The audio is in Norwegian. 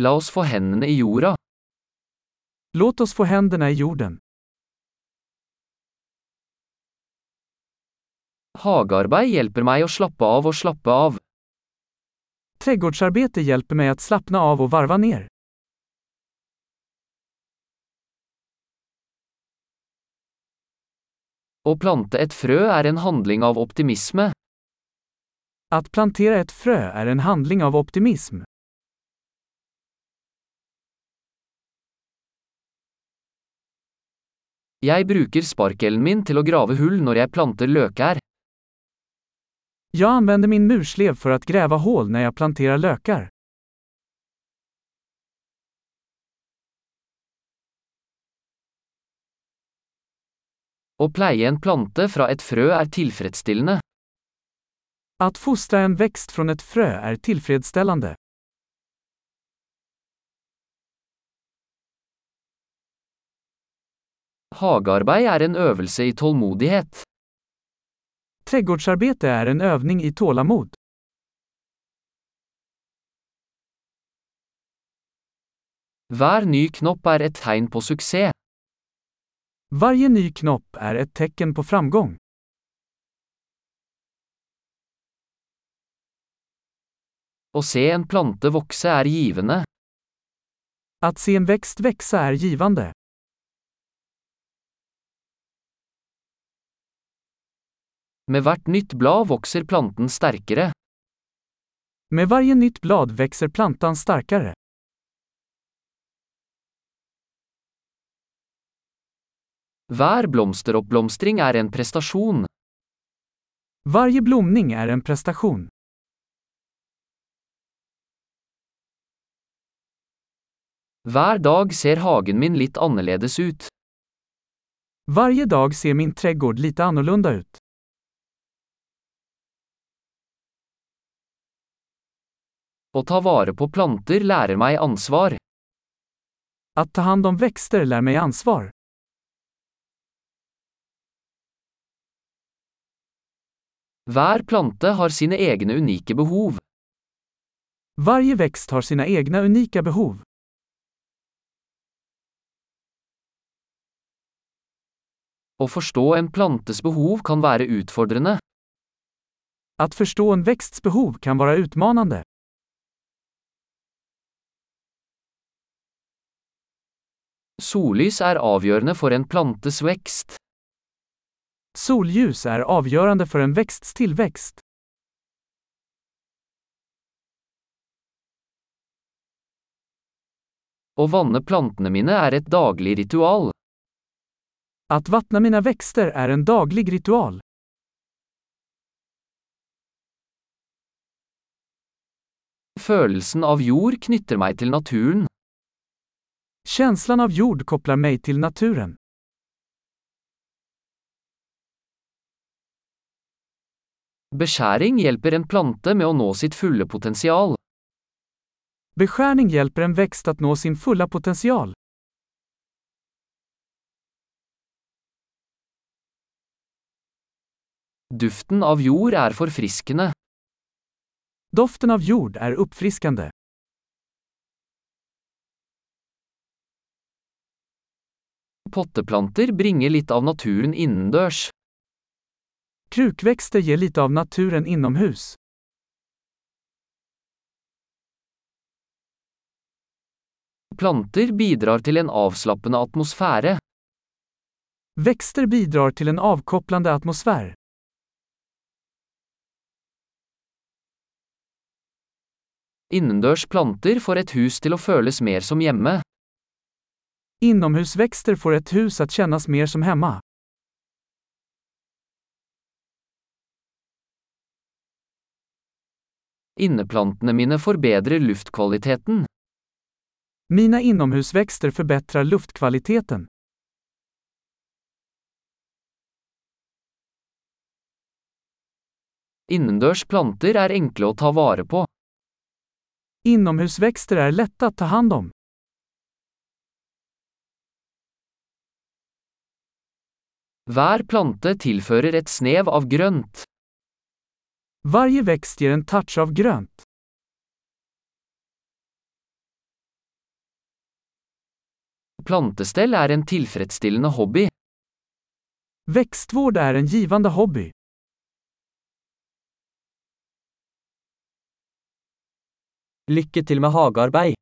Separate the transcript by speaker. Speaker 1: La oss få hendene i jorda.
Speaker 2: Låt oss få händerna i jorden.
Speaker 1: Hagearbeid hjelper meg å slappe av og slappe av.
Speaker 2: Trädgårdsarbete hjälper mig att slappna av och varva ner.
Speaker 1: Å plante et frø er en handling av optimisme.
Speaker 2: Att plantera ett frö är en handling av optimism.
Speaker 1: Jeg bruker sparkelen min til å grave hull når jeg planter løkær.
Speaker 2: Jag använder min murslev för att gräva hål när jag planterar lökar.
Speaker 1: Å pleie en plante fra et frø er tilfredsstillende.
Speaker 2: Att fostra en växt från ett frö är tillfredsställande.
Speaker 1: Hagearbeid er en øvelse i tålmodighet.
Speaker 2: Trädgårdsarbete är en övning i tålamod.
Speaker 1: Hver ny knopp er et tegn på suksess.
Speaker 2: Varje ny knopp är ett tecken på framgång.
Speaker 1: Å se en plante vokse er givende.
Speaker 2: Att se en växt växa är givande.
Speaker 1: Med hvert nytt blad vokser planten sterkere.
Speaker 2: Med varje nytt blad växer plantan starkare.
Speaker 1: Hver blomsteroppblomstring er en prestasjon.
Speaker 2: Varje blomning är en prestation.
Speaker 1: Hver dag ser hagen min litt annerledes ut.
Speaker 2: Varje dag ser min trädgård lite annorlunda ut.
Speaker 1: Å ta vare på planter lærer meg ansvar.
Speaker 2: Att ta hand om växter lär mig ansvar.
Speaker 1: Hver plante har sine egne unike behov.
Speaker 2: Varje växt har sina egna unika behov.
Speaker 1: Å forstå en plantes behov kan være utfordrende.
Speaker 2: Att förstå en växts behov kan vara utmanande.
Speaker 1: Sollys er avgjørende for en plantes vekst.
Speaker 2: Solljus är avgörande för en växts tillväxt.
Speaker 1: Å vanne plantene mine er et daglig ritual.
Speaker 2: Att vattna mina växter är en daglig ritual.
Speaker 1: Følelsen av jord knytter meg til naturen.
Speaker 2: Känslan av jord kopplar mig till naturen.
Speaker 1: Beskjæring hjelper en plante med å nå sitt fulle potensial.
Speaker 2: Beskärning hjälper en växt att nå sin fulla potential.
Speaker 1: Duften av jord er forfriskende.
Speaker 2: Doften av jord är uppfriskande.
Speaker 1: Potteplanter bringer litt av naturen innendørs.
Speaker 2: Krukväxter ger lite av naturen inomhus.
Speaker 1: Planter bidrar til en avslappende atmosfære.
Speaker 2: Växter bidrar till en avkopplande atmosfär.
Speaker 1: Innendørs planter får et hus til å føles mer som hjemme.
Speaker 2: Inomhusväxter får ett hus att kännas mer som hemma.
Speaker 1: Inneplantene mine forbedrer luftkvaliteten.
Speaker 2: Mina inomhusväxter förbättrar luftkvaliteten.
Speaker 1: Innendørs planter er enkle å ta vare på.
Speaker 2: Inomhusväxter är lätta att ta hand om.
Speaker 1: Hver plante tilfører et snev av grønt.
Speaker 2: Varje växt ger en touch av grönt.
Speaker 1: plantestell er en tilfredsstillende hobby.
Speaker 2: Växtvård är en givande hobby.
Speaker 3: Lykke til med hagearbeid.